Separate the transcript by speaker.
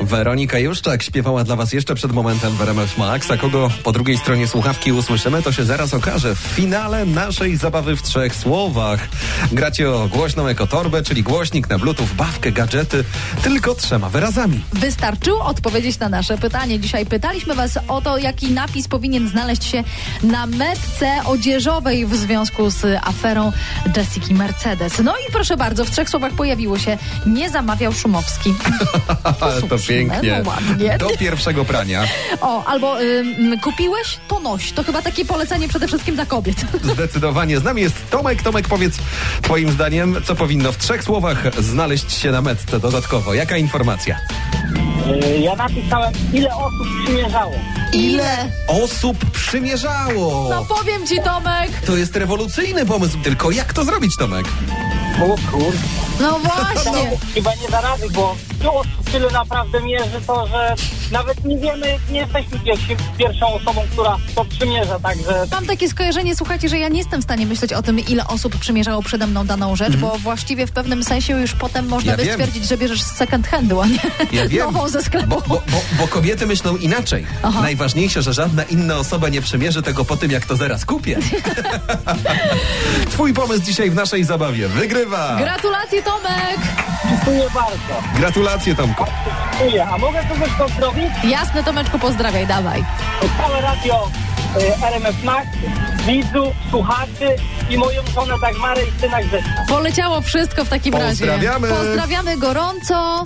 Speaker 1: Weronika Juszczak śpiewała dla Was jeszcze przed momentem w RMF Max, a kogo po drugiej stronie słuchawki usłyszymy, to się zaraz okaże w finale naszej zabawy w trzech słowach. Gracie o głośną ekotorbę, czyli głośnik na bluetooth, bawkę, gadżety, tylko trzema wyrazami.
Speaker 2: Wystarczyło odpowiedzieć na nasze pytanie. Dzisiaj pytaliśmy Was o to, jaki napis powinien znaleźć się na metce odzieżowej w związku z aferą Jessiki Mercedes. No i proszę bardzo, w trzech słowach pojawiło się nie zamawiał Szumowski.
Speaker 1: to pięknie.
Speaker 2: no ładnie.
Speaker 1: Do pierwszego prania.
Speaker 2: O, albo ym, kupiłeś, to noś. To chyba takie polecenie przede wszystkim dla kobiet.
Speaker 1: Zdecydowanie. Z nami jest Tomek. Tomek, powiedz Twoim zdaniem, co powinno w trzech słowach znaleźć się na metce dodatkowo? Jaka informacja?
Speaker 3: Yy, Ja napisałem, ile osób przymierzało.
Speaker 2: Ile?
Speaker 1: Osób przymierzało!
Speaker 2: No powiem ci, Tomek.
Speaker 1: To jest rewolucyjny pomysł, tylko jak to zrobić, Tomek?
Speaker 3: O kurde.
Speaker 2: No właśnie.
Speaker 3: Chyba nie da rady, bo tu osób tyle naprawdę mierzy to, że nawet nie wiemy, nie jesteśmy pierwsi, pierwszą osobą, która to przymierza, także
Speaker 2: Mam takie skojarzenie, słuchajcie, że ja nie jestem w stanie myśleć o tym, ile osób przymierzało przede mną daną rzecz, bo właściwie w pewnym sensie już potem można
Speaker 1: Mhm. Ja
Speaker 2: by
Speaker 1: wiem.
Speaker 2: stwierdzić, że bierzesz z second handu, a nie
Speaker 1: Ja wiem.
Speaker 2: nową ze sklepu.
Speaker 1: Bo, bo, bo, bo kobiety myślą inaczej.
Speaker 2: Aha.
Speaker 1: Najważniejsze, że żadna inna osoba nie przymierzy tego po tym, jak to zaraz kupię. Twój pomysł dzisiaj w naszej zabawie wygrywa.
Speaker 2: Gratulacje, Tomek!
Speaker 3: dziękuję bardzo.
Speaker 1: Gratulacje, Tomku.
Speaker 3: Dziękuję. A mogę kogoś pozdrowić?
Speaker 2: Jasne, Tomeczku, pozdrawiaj, dawaj.
Speaker 3: Całe radio y, RMF Max, widzów, słuchaczy i moją żonę Dagmarę i syna Grześka.
Speaker 2: Poleciało wszystko w takim razie.
Speaker 1: Pozdrawiamy.
Speaker 2: Pozdrawiamy gorąco.